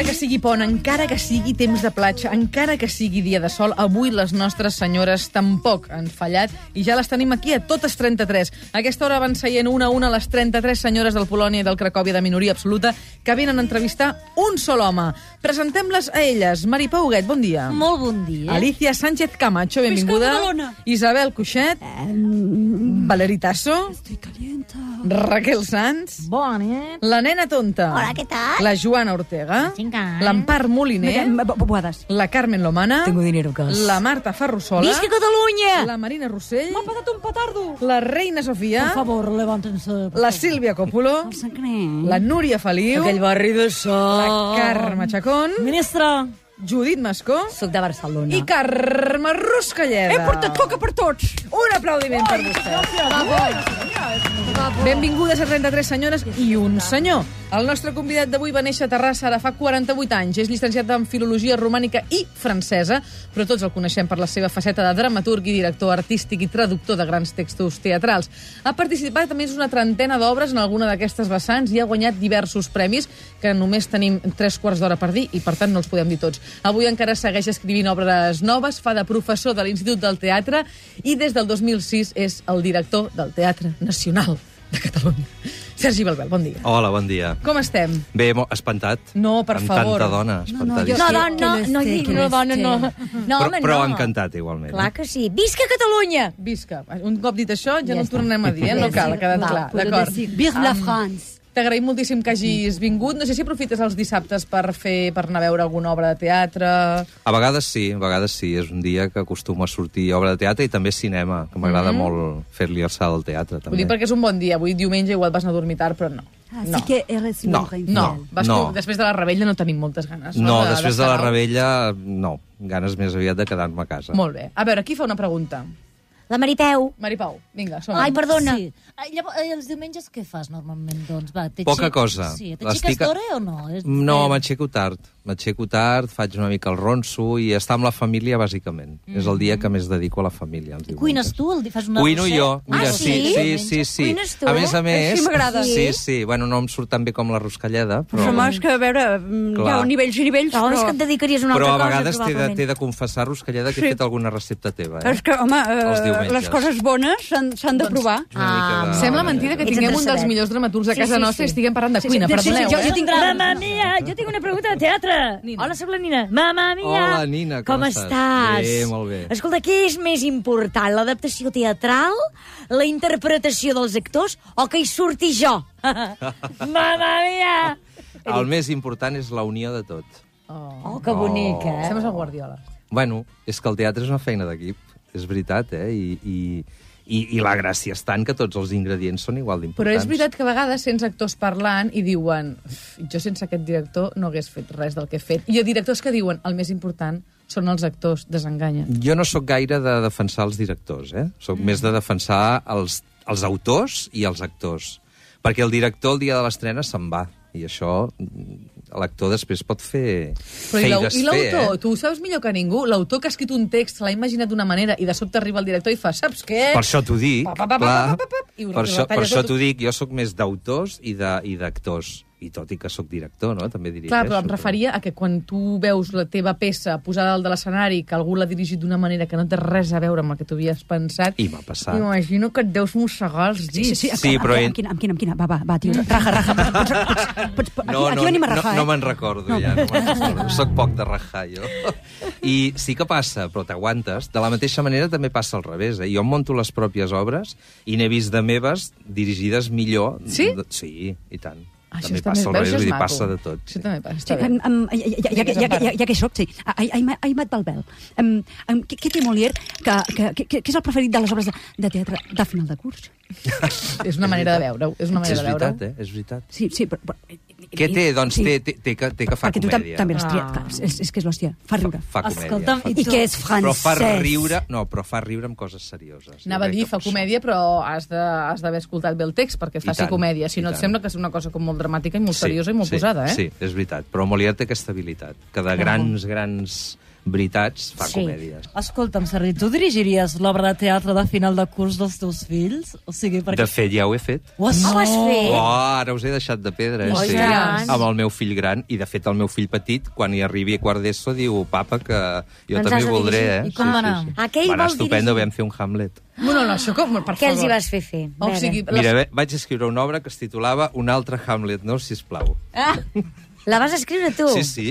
que sigui pont, encara que sigui temps de platja, encara que sigui dia de sol, avui les nostres senyores tampoc han fallat i ja les tenim aquí a totes 33. A aquesta hora van seient una a una les 33 senyores del Polònia i del Cracòvia de minoria absoluta que venen a entrevistar un sol home. Presentem-les a elles. Mari Pauguet, bon dia. Ah. Molt bon dia. Alicia Sánchez Camacho, benvinguda. Badalona. Isabel Cuixet. Valeri Tasso. Estoy calienta. Raquel Sanz. Bon, eh? La nena tonta. Hola, què tal? La Joana Ortega. Vinga. L'Empar Eh? Moliner. Boades. La Carmen Lomana. Tengo dinero, cas. La Marta Ferrusola. Visca Catalunya! La Marina Rossell. M'ha patat un petardo. La Reina Sofia. Per favor, eh, levántense. La Sílvia Coppola. La Núria Feliu. Aquell Oh. barri de La sol. Carme Chacón. Ministra, Judit Mascó. sóc de Barcelona. I Carme Ruscalleda. He portat coca per tots. Un aplaudiment per vostè. Benvingudes a 33 senyores i un senyor. El nostre convidat d'avui va néixer a Terrassa ara fa 48 anys. És llicenciat en Filologia Romànica i Francesa, però tots el coneixem per la seva faceta de dramaturg i director artístic i traductor de grans textos teatrals. Ha participat a més una trentena d'obres en alguna d'aquestes vessants i ha guanyat diversos premis que només tenim tres quarts d'hora per dir i per tant no els podem dir tots. Avui encara segueix escrivint obres noves, fa de professor de l'Institut del Teatre i des del 2006 és el director del Teatre Nacional de Catalunya. Sergi Balbel, bon dia. Hola, bon dia. Com estem? Bé, mo- espantat. No, per Amb favor. tanta dona, espantadíssim. jo- No, no, no, Que no, les té, no, que no, les dona, té. no. No, però, home, però no. encantat, igualment. eh? Clar que sí. Visca Catalunya! Visca. Un cop dit això, ja, no ho tornem a dir, eh? no cal, ha quedat clar. D'acord. Vive la France. T'agraïm moltíssim que hagis vingut. No sé si aprofites els dissabtes per fer per anar a veure alguna obra de teatre... A vegades sí, a vegades sí. És un dia que acostuma a sortir obra de teatre i també cinema, que Mhm. m'agrada mm -hmm. molt fer-li alçar al teatre, Ho també. dic perquè és un bon dia. Avui diumenge igual vas anar a dormir tard, però no. Ah, Así No. que eres un No. reinfiel. No, vas No. Tu, després de la rebella no tenim moltes ganes. No, després de la estar-ho. rebella, no. Ganes més aviat de quedar-me a casa. Molt bé. A veure, qui fa una pregunta? La Mariteu. Mari Pau, vinga, som Ai, perdona. Sí. Ah, Llavors, eh, els diumenges què fas normalment, doncs? Va, t'aixeques- Poca cosa. Sí, t'aixeques L'estic a- d'hora o no? És- No, eh, m'aixeco tard. M'aixeco tard, faig una mica el ronso i estar amb la família, bàsicament. Mm -hmm. És Mhm. el dia que més dedico a la família. els Cuines diumenges. tu? El, di- fas una Cuino doceta? jo. Ah, Mira, sí? sí, sí, sí, sí. Cuines tu? A més a més... Així m'agrada. Sí, sí. Bueno, no em surt tan bé com la ruscalleda, però... Però és que, a veure, mm, hi ha Clar. nivells i nivells, No, és que et però... dedicaries a una Però altra a cosa, vegades t'he de, probablement. t'he de confessar, Ruscalleda, que he fet alguna recepta teva. Eh? És que, Doncs- home, Els eh, diumenges. les coses bones s'han s'han de provar. És una mica Ah, de- Sembla mentida que Ets tinguem un dels endreçadet. millors dramaturgs a casa nostra i estiguem parlant de cuina, sí, sí, perdoneu. jo- jo eh? tinc- Mamma mia, jo tinc una pregunta de teatre. Hola, sóc la Nina. Mamma mia. Hola, Nina, com com estàs? estàs? Bé, molt bé. Escolta, què és més important, l'adaptació teatral, la interpretació dels actors o que hi surti jo? Mamma mia! El més important és la unió de tot. Oh. Oh, que bonic, eh? Sembles el Guardiola. Bueno, és que el teatre és una feina d'equip, és veritat, eh? I, i, i, I la gràcia és tant que tots els ingredients són igual Però d'importants. és veritat que a vegades sents actors parlant i diuen "Uf, jo sense aquest director no hagués fet res del que he fet. I hi ha directors que diuen el més important són els actors, desenganyen. Jo no sóc gaire de defensar els directors, eh? Sóc mm. més de defensar els, els autors i els actors. Perquè el director el dia de l'estrena se'n va. I això mm, l'actor després pot fer... Però i l'au- feines i l'autor, fer, eh? tu ho saps millor que ningú? L'autor que ha escrit un text, l'ha imaginat d'una manera i de sobte arriba el director i fa, saps què? Per això t'ho eh? dic, Pa, pa, pa, pa, clar. pa, pa, pa, i ho- i Per ho això, per retalles això tot. t'ho dic, jo sóc més d'autors i de- i d'actors. I tot i que sóc director, no? També dirigeixo. Clar, però em referia a que quan tu veus la teva peça posada dalt de l'escenari, que algú l'ha dirigit d'una manera que no té res a veure amb el que tu havies pensat, I m'ha passat. imagino que et deus mossegar els dits. sí, sí, però amb, en- amb, quina, amb quina, amb quina? Va, va, va, tio, raja, raja. Pots, pots, pots, pots, aquí, aquí venim a no, rajar, no eh? me'n recordo, no. ja. No me'n recordo. Soc poc de rajar, jo. I sí que passa, però t'aguantes. De la mateixa manera també passa al revés. Eh? Jo em monto les pròpies obres i n'he vist de meves dirigides millor. Sí? Ah, De- Sí, i tant. Això també està passa més- al veus, revés, és vull dir, maco. passa de tot. Això també passa. Sí, està bé. em, em, ja, ja, ja, ja, ja, ja que hi soc, sí. Ah, Ai, ai, ai, ai Mat Balbel. Em, em, què, què té Molière, que, que, que, que és el preferit de les obres de, de teatre de final de curs? És una manera de veure-ho. És una manera És de veure-ho. veritat, eh? És veritat. Sí, sí, però... però Què té? Doncs té, té, té, que, té que fa Perquè tu tam comèdia. també l'has triat, Ah. clar, és, és que és l'hòstia, fa riure. Fa comèdia. Escolta'm, fa... I que és francès. Però fa riure... No, però fa riure amb coses serioses. Anava a Jo eh? crec dir, que fa per això- comèdia, però has de- has d'haver escoltat bé el text perquè faci tant, comèdia. Si i no, et tant. sembla que és una cosa com molt dramàtica i molt seriosa i molt sí, posada, eh? Sí, és veritat. Però Molière té aquesta habilitat, que de grans, grans veritats fa comèdies. Escolta'm, Sergi, tu dirigiries l'obra de teatre de final de curs dels teus fills? O sigui, perquè... De fet, ja ho he fet. Ho has... Ah, No. Ho has fet? Eh. Oh, ara us he deixat de pedra. eh? Oh, sí. i tant. Amb el meu fill gran, i de fet el meu fill petit, quan hi arribi a quart d'ESO, diu, papa, que jo Ens Doncs has també de ho voldré, dirigir. eh? I com va anar? Aquell va anar vol estupendo, dirigir. vam fer un Hamlet. No, no, no, això com... Per Què els favor. hi vas fer fer? O sigui, les... Mira, ve- vaig escriure una obra que es titulava Un altre Hamlet, no? Sisplau. Ah, La vas escriure tu? Sí, sí.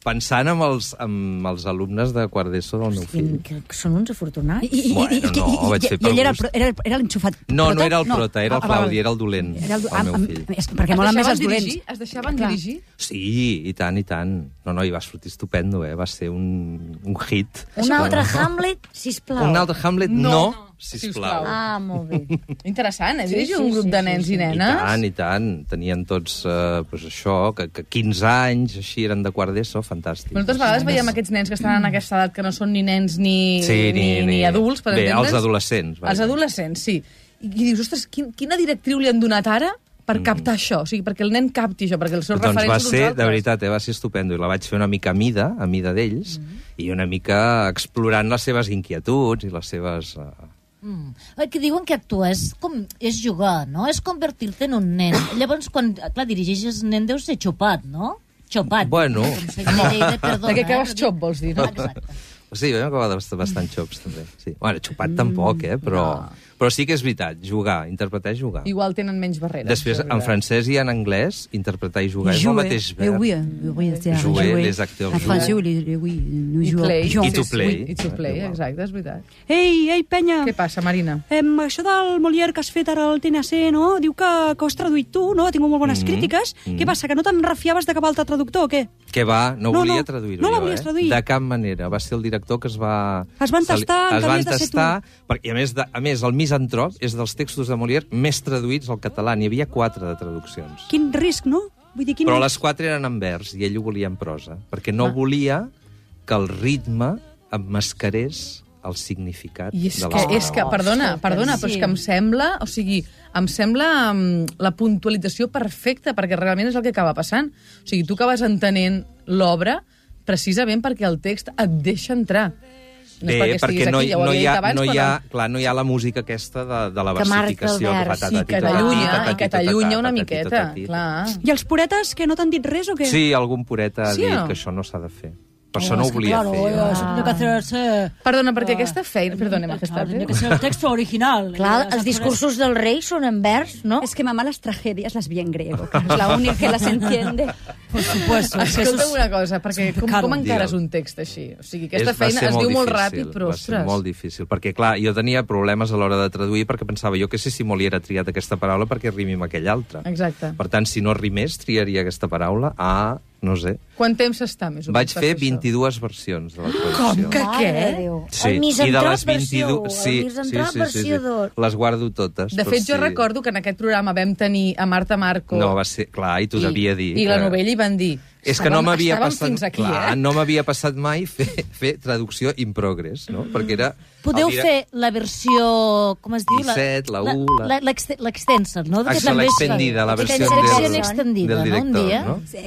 Pensant amb els, amb els alumnes de quart d'ESO del meu fill. Que són uns afortunats. I, i, i, Bueno, i, i, no, vaig i, fer i, per ell era, gust. el pro- era, era l'enxufat. No, no Prota? era el prota, era el Ah, va, va. Claudi, era el dolent, Era el, do- ah, el meu am- fill. am- És, perquè es mola més deixaven els dolents. dirigir? Es deixaven dirigir? Sí, i tant, i tant. No, no, i va sortir estupendo, eh? Va ser un, un hit. Un altre Hamlet, sisplau. Un altre Hamlet, no, No, no sisplau. sisplau. Ah, molt bé. Interessant, eh? Dirigir sí, un grup sí, de sí, nens sí. i I nenes. tant, i tant. Tenien tots, eh, pues això, que, que 15 anys, així, eren de quart d'ESO, fantàstic. Però moltes vegades veiem aquests nens que estan en aquesta edat que no són ni nens ni, Sí, ni, ni, ni adults, per Bé, entendre'ns. els adolescents. vaja. Els adolescents, sí. I, i dius, ostres, quin, quina directriu li han donat ara per captar això? O sigui, perquè el nen capti això, perquè els seus Mm. Doncs va referents són uns ser, altres. de veritat, eh, va ser estupendo. I la vaig fer una mica a mida, a mida d'ells, i una mica explorant les seves inquietuds i les seves... Eh, Mm. El que diuen que actuar és, com, és jugar, no? És convertir-te en un nen. Llavors, quan clar, dirigeixes nen, deus ser xopat, no? Xopat. Bueno. Com se diu a Lleida, perdona, De què eh, acabes però dic- xop, vols dir, no? Ah, Exacte. Sí, vam acabar bast- bastant xops, també. Sí. Bueno, Mm, xupat tampoc, eh? Però, però sí que és veritat, jugar, interpretar és jugar. Igual tenen menys barreres. Després, és en veritat. francès i en anglès, interpretar i jugar és el Jouer, mateix eh, verb. oui, eh, oui, c'est- Jouer, jouer. les acteurs En jouent. français, oui, les- les- oui, nous I jouons. play. Jouons. I to play. I to play, Igual. exacte, és veritat. Ei, ei, penya! Què passa, Marina? Em, això del Molière que has fet ara al TNC, no? Diu que, que ho has traduït tu, no? Ha tingut molt bones Mhm, crítiques. mhm. Què passa, que no te'n refiaves de cap altre traductor o què? Que va, no, No, volia no, traduir-ho no la jo, volies eh? traduir. De cap manera. Va ser el director que es va... Es van se li- tastar, Es que van havies de ser tastar, perquè, a més, de, a més, el misantrop és dels textos de Molière més traduïts al català. N'hi havia quatre de traduccions. Quin risc, no? Vull dir, quin... Però les quatre eren en vers i ell ho volia en prosa, perquè no volia que el ritme emmascarés el significat I és de que, les és que, paraules. perdona, perdona, però és sí. que em sembla, o sigui, em sembla mm, la puntualització perfecta, perquè realment és el que acaba passant. O sigui, tu acabes entenent l'obra precisament perquè el text et deixa entrar. No és Bé, estiguis perquè no, aquí, hi- ja ho no, havia hi dit ha, abans, no, hi però ha, clar, no hi ha la música aquesta de, de la Que marca el versificació. vers. patati, Sí, que tatati, t'allunya, tatati, que tatati, t'allunya una tatati, miqueta, tatati. clar. I els puretes, que no t'han dit res o què? Sí, algun pureta ha Sí o dit no? que això no s'ha de fer. Per això no ho volia claro, fer. jo. Ah. Eso tiene que hacerse... Perdona, perquè aquesta feina... Perdona, Claro, ah, majestat. tiene que eh? ser el texto original. Clar, Eh, els discursos del rei són en vers, no? Es que mamá las tragedias las vi en griego, que es la única que las entiende. Por supuesto. es que eso es- Escolta'm una cosa, perquè és un com, pecado. com encares Digue'm. un text així? O sigui, aquesta És- va feina ser es diu molt difícil, ràpid, però Va ostres... ser molt difícil, perquè clar, jo tenia problemes a l'hora de traduir perquè pensava, jo què sé si Molière ha triat aquesta paraula perquè rimi amb aquella altra. Exacte. Per tant, si no rimés, triaria aquesta paraula a, no sé... Quant temps està, més o menys, Vaig per fer això? Ah, 22 versions de la traducció. que Mare què? de Déu. Sí, El i de misantrop les 22... versió, sí, el misantrop versió dos. Les guardo totes. De Doncs però fet, jo sí. recordo que en aquest programa vam tenir a Marta Marco No, va ser... Clar, i t'ho devia dir. i la que- novella i van dir... És que no "Estàvem- m'havia estàvem passat... fins aquí, clar, eh? no m'havia passat mai fer, fer traducció in progress, no? Perquè era... Podeu el dire- fer la versió... Com es diu? 17, la u, la- la, l'exte- l'extensa, no? Ah, Que això, també es fa. l'extendida, la versió L'extensa, del- versió extendida, del director, no? Un dia.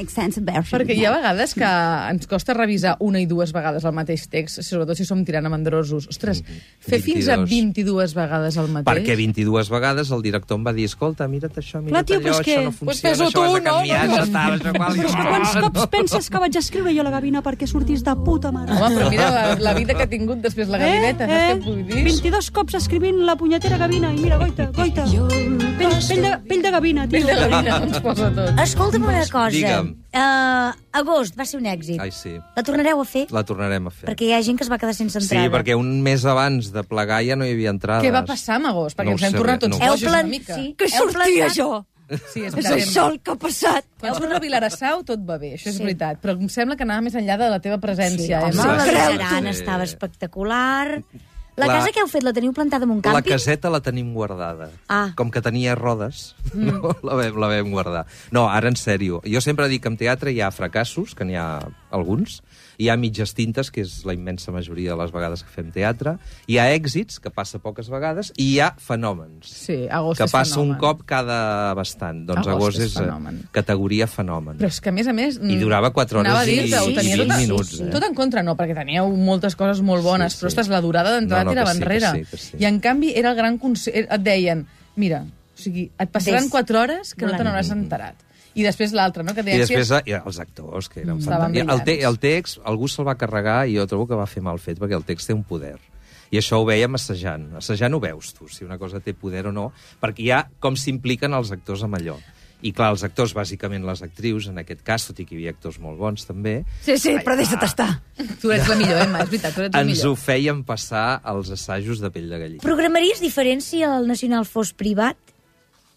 no? Sense version. Perquè hi ha vegades que ens costa revisar una i dues vegades el mateix text, sobretot si som tirant amandrosos. Ostres, fer fins a 22 vegades el mateix... Mm, Perquè 22 vegades el director em va dir escolta, mira't això, mira't tio, allò, però això és que- no Pues funciona, fes-ho això tu, has de no? canviar, això tal, això qual... Però és que quants cops penses que vaig escriure jo la gavina perquè sortís de puta mare? Home, però mira la, la vida que ha tingut després la gavineta, eh? saps què et vull dir? 22 cops escrivint la punyetera gavina i mira, goita, goita. Pell, pell, de, pell de gavina, tio. Pell eh. de gavina, ens posa tot. Escolta'm una cosa. Digue'm. Eh, agost va ser un èxit. Ai, sí, La tornareu a fer? la tornarem a fer. Perquè hi ha gent que es va quedar sense Sí, entrada. perquè un mes abans de plegar ja no hi havia entrades. Què va passar amb agost? Perquè No ho ens hem sé, tornat no tots ho no. sé. Heu bojos una plan... mica. sí, Que heu sortia plantat- jo. sí és, És això el que ha passat. El Bruno Vilarassau tot va bé, això és sí. veritat, però em sembla que anava més enllà de la teva Sí, presència. home, eh, Sí, la Marc? sí. Miserant Sí. estava espectacular. La, La- casa que heu fet la teniu plantada en un La càmping? caseta la tenim guardada. Ah. Com que tenia rodes, Mm. no, la, vam, la vam guardar. No, ara en sèrio. Jo sempre dic que en teatre hi ha fracassos, que n'hi ha alguns, hi ha mitges tintes, que és la immensa majoria de les vegades que fem teatre, hi ha èxits, que passa poques vegades, i hi ha fenòmens. Sí, Agost que és passa fenomen. un cop cada bastant. Doncs Agost Agost, és és, eh, fenomen. categoria fenomen. Però és que, a més a més... mm, I durava quatre hores anava a i- dir-te, ho i tenia vint tot, minuts, eh? Tot en contra, no, perquè teníeu moltes coses molt bones, sí, Sí, sí. sí. però ostres, la durada d'entrada No, no, que tirava sí, que enrere. sí, que sí. I en canvi era el gran consell... Et deien, mira, o sigui, et passaran Ves. quatre hores que no te Volant. n'hauràs enterat. I després l'altre, no? Que I deien, després si... eh, els actors, que eren Estaven fantàstics. El, te brillants. el text, algú se'l va carregar i jo trobo que va fer mal fet, perquè el text té un poder. I això ho veiem assajant. Assajant ho veus, tu, si una cosa té poder o no, perquè hi ha com s'impliquen els actors amb allò. I clar, els actors, bàsicament les actrius, en aquest cas, tot i que hi havia actors molt bons també, Sí, sí, però Ah, deixa't estar. Tu ets la millor, Emma, és veritat, tu ets la ens ho millor. feien passar als assajos de pell de gallina. Programaries diferent si el Nacional fos privat?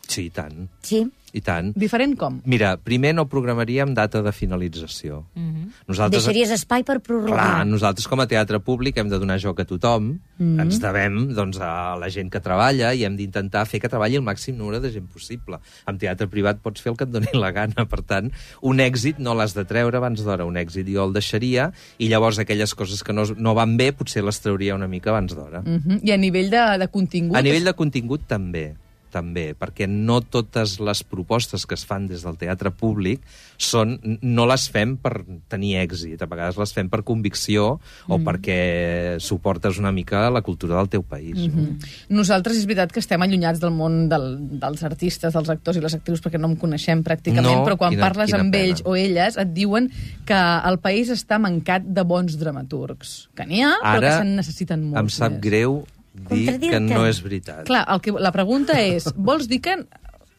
Sí, i tant, Sí. i tant. Diferent com? Mira, primer no programaríem data de finalització. Mm -hmm. Nosaltres Deixaries espai per prorrogar. Clar, nosaltres com a teatre públic hem de donar joc a tothom, mm. ens devem doncs, a la gent que treballa i hem d'intentar fer que treballi el màxim número de gent possible. Amb teatre privat pots fer el que et doni la gana, per tant, un èxit no l'has de treure abans d'hora, un èxit jo el deixaria i llavors aquelles coses que no, no van bé potser les trauria una mica abans d'hora. Mm. Uh -huh. I a nivell de, de contingut... A nivell de contingut també també, perquè no totes les propostes que es fan des del teatre públic són, no les fem per tenir èxit, a vegades les fem per convicció Mm. o perquè suportes una mica la cultura del teu país. Mm Mm-hmm. -hmm. Nosaltres és veritat que estem allunyats del món del, dels artistes, dels actors i les actrius, perquè no en coneixem pràcticament, No, però quan quina- parles quina amb pena. ells o elles et diuen que el país està mancat de bons dramaturgs. Que n'hi ha, Ah, però que se'n necessiten molts em sap més. greu dir que Contradir-te. no és veritat. Clar, el que, la pregunta és, vols dir que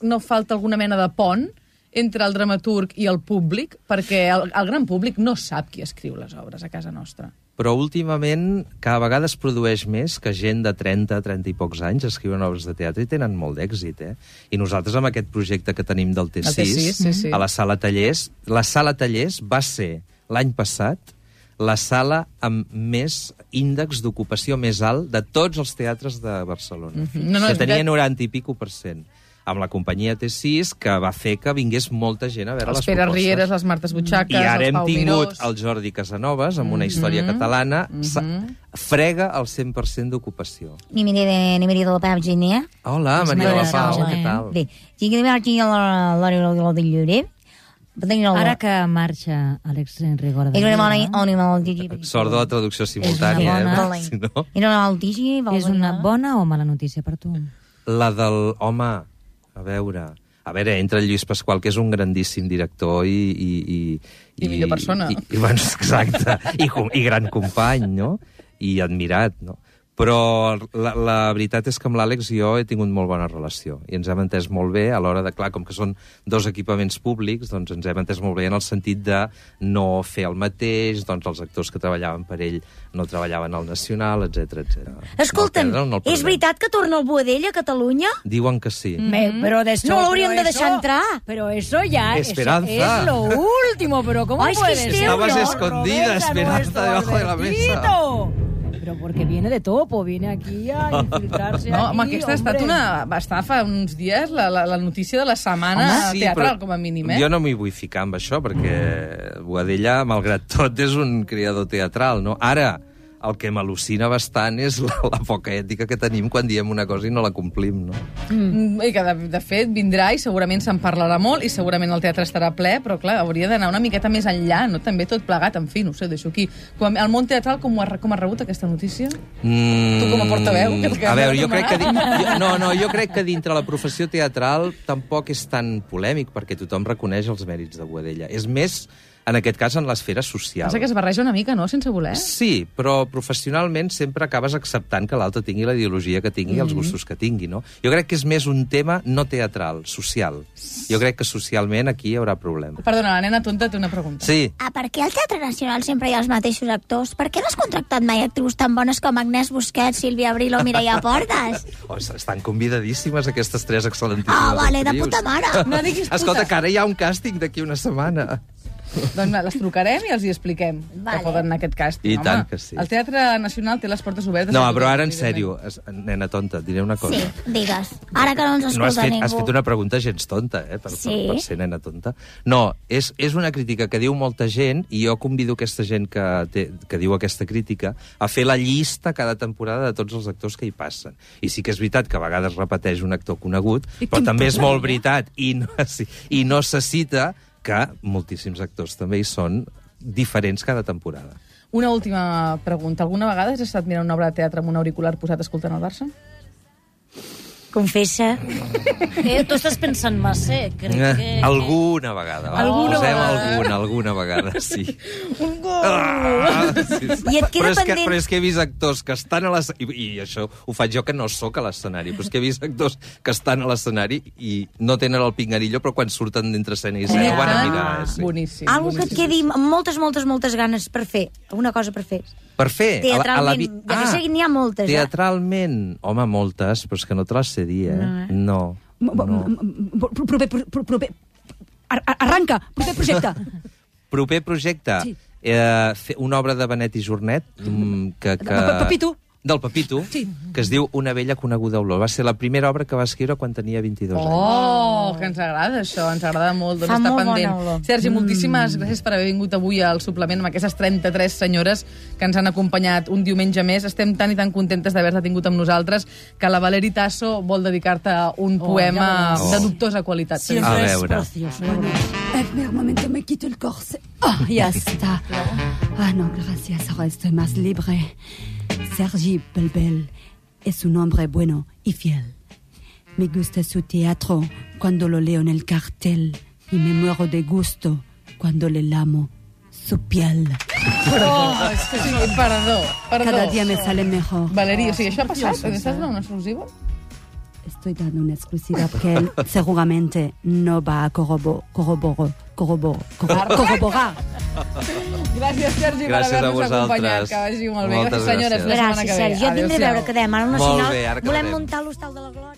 no falta alguna mena de pont entre el dramaturg i el públic? Perquè el, el gran públic no sap qui escriu les obres a casa nostra. Però últimament cada vegada es produeix més que gent de 30, 30 i pocs anys escriuen obres de teatre i tenen molt d'èxit, eh? I nosaltres amb aquest projecte que tenim del T6, El T6, sí, sí. a la Sala Tallers, la Sala Tallers va ser l'any passat la sala amb més índex d'ocupació més alt de tots els teatres de Barcelona, Mhm. No, no, que és tenia veritat. 90 i pico per cent amb la companyia T6, que va fer que vingués molta gent a veure Els les Pere propostes. Rieres, les Martes Butxaques, I ara els hem Pau tingut Mirós... el Jordi Casanovas amb una història catalana. Sa- Frega el 100% d'ocupació. Ni miré de, ni miré de la Pau Giné. Hola, Maria de la Pau, Ah, què tal? eh, Bé, tinc que veure aquí a la- a l'àrea de la de Llorer. Ara que marxa Àlex Eh, Enrigor de Era una Lleida, bona ànima del Gigi. Sort de la traducció simultània, bona- eh? Valent. perquè Si no... Era una del Gigi. és una bona o mala notícia per tu? La del... Home, a veure... A veure, entra el Lluís Pasqual, que és un grandíssim director i... I, i, I millor persona. I, i, bueno, exacte, i, com- i gran company, no? I admirat, no? Però la, la veritat és que amb l'Àlex jo he tingut molt bona relació i ens hem entès molt bé a l'hora de, clar, com que són dos equipaments públics, doncs ens hem entès molt bé en el sentit de no fer el mateix, doncs els actors que treballaven per ell no treballaven al Nacional, etc etc. Escolta'm, és veritat que torna el Boadella a Catalunya? Diuen que sí. Me, pero de eso, No l'hauríem pero de deixar eso- entrar. Pero eso ya eso Esperanza. es lo último, pero ¿cómo Ay, es que puede ser? este Estabas no? escondida, Roberta, Esperanza, nuestro debajo de la Albertito. Pero porque viene de topo, viene aquí a infiltrarse No, home, aquí, aquesta ha estat hombre. una... Va estar fa uns dies la, la, la notícia de la setmana sí, teatral, però com a mínim, eh? Jo no m'hi vull ficar amb això, perquè Boadella, malgrat tot, és un criador teatral, no? Ara, el que m'al·lucina bastant és la, la poca ètica que tenim quan diem una cosa i no la complim, no? Mm. I que, de, de fet, vindrà i segurament se'n parlarà molt i segurament el teatre estarà ple, però, clar, hauria d'anar una miqueta més enllà, no? També tot plegat, en fi, no ho sé, ho deixo aquí. Com, a- el món teatral, com, ho ha, com ha rebut aquesta notícia? Mm, Tu com a portaveu, que et a veure, quedes jo crec que, mal. di- jo, no, no, jo crec que dintre la professió teatral tampoc és tan polèmic, perquè tothom reconeix els mèrits de Boadella. És més, en aquest cas, en l'esfera social. Pensa que es barreja una mica, no?, sense voler. Sí, però professionalment sempre acabes acceptant que l'altre tingui la ideologia que tingui, mm -hmm. els gustos que tingui, no? Jo crec que és més un tema no teatral, social. Jo crec que socialment aquí hi haurà problema. Perdona, la nena tonta té una pregunta. Sí, Ah, per què al Teatre Nacional sempre hi ha els mateixos actors? Per què no has contractat mai actrius tan bones com Agnès Busquets, Sílvia Abril o Mireia Portes? oh, estan convidadíssimes aquestes tres excel·lentíssimes Ah, vale, de actrius. puta mare. No diguis Escolta, que ara hi ha un càsting d'aquí una setmana. Doncs va, les trucarem i els hi expliquem vale. Vale. que poden anar a aquest càsting. I home. tant que sí. El Teatre Nacional té les portes obertes. No, a tothom, però ara en evidentment. sèrio, es, nena tonta, et diré una cosa. Sí, digues. Ara que no ens escolta No has fet, ningú. has fet una pregunta gens tonta, eh? Per, Sí. per, per ser nena tonta. No, és, és una crítica que diu molta gent, i jo convido aquesta gent que, té, que diu aquesta crítica a fer la llista cada temporada de tots els actors que hi passen. I sí que és veritat que a vegades repeteix un actor conegut, I però quin també és problema? molt veritat, i no, sí, i no se cita que moltíssims actors també hi són diferents cada temporada. Una última pregunta. Alguna vegada has estat mirant una obra de teatre amb un auricular posat escoltant el Barça? Confessa. Eh, tu estàs pensant massa, eh? crec que... Eh, alguna vegada. va, Alguna posem vegada. Alguna, alguna vegada, sí. Un gol! Ah, sí, sí. I et queda però és pendent- Que, però és que he vist actors que estan a l'escenari... I, I això ho faig jo, que no sóc a l'escenari, però és que he vist actors que estan a l'escenari i no tenen el pingarillo, però quan surten d'entre escena i escena ho van a mirar. eh, Sí. Boníssim. Algo que et boníssim. quedi amb moltes, moltes, moltes ganes per fer. Una cosa per fer. Per fer... a la- a la vi- Ah, Teatralment. Ja que sé que n'hi ha moltes, eh? Teatralment. Home, moltes, però és que no te les sé dir, eh? No. M- no. m- m- m- Proper, proper, proper, ar- ar- arranca, proper projecte. Proper projecte. Sí. Eh, fer una obra de Benet i Jornet mm, que, que... Pa- Papito. Del Papito, Sí. que es diu Una vella coneguda olor. Va ser la primera obra que va escriure quan tenia 22 anys. Oh, que ens agrada això, ens agrada molt, doncs Fa està molt bona pendent. olor. Mm. Sergi, moltíssimes gràcies per haver vingut avui al suplement amb aquestes 33 senyores que ens han acompanyat un diumenge més. Estem tan i tan contentes d'haver-te tingut amb nosaltres que la Valeri Tasso vol dedicar-te Oh, un poema veuràs. de dubtosa qualitat. Sí, A es veure. precioso. Espera un momento, me quito el corset. Ah, ya está. Ah, no, gracias. Ahora estoy más libre. Sergi Belbel es un hombre bueno y fiel. Me gusta su teatro cuando lo leo en el cartel y me muero de gusto cuando le lamo su piel. Oh, Sí, perdó, perdó. Cada día me sale mejor. Valeri, o sigui, això ha passat? Estàs donant una exclusiva? Estoy dando una exclusiva que él seguramente no va a corrobo- corroborar. Corroborar. Corroborar. Gràcies, Sergi, Gràcies per a haver-nos vosaltres. acompanyat. Que vagi molt bé. Moltes senyores. gràcies. La setmana Gràcies, que ve. Sergi. Jo tindré a Adéu-siau. veure que dèiem. Ara al Molt Nacional bé, ara volem quedarem. muntar l'hostal de la Glòria.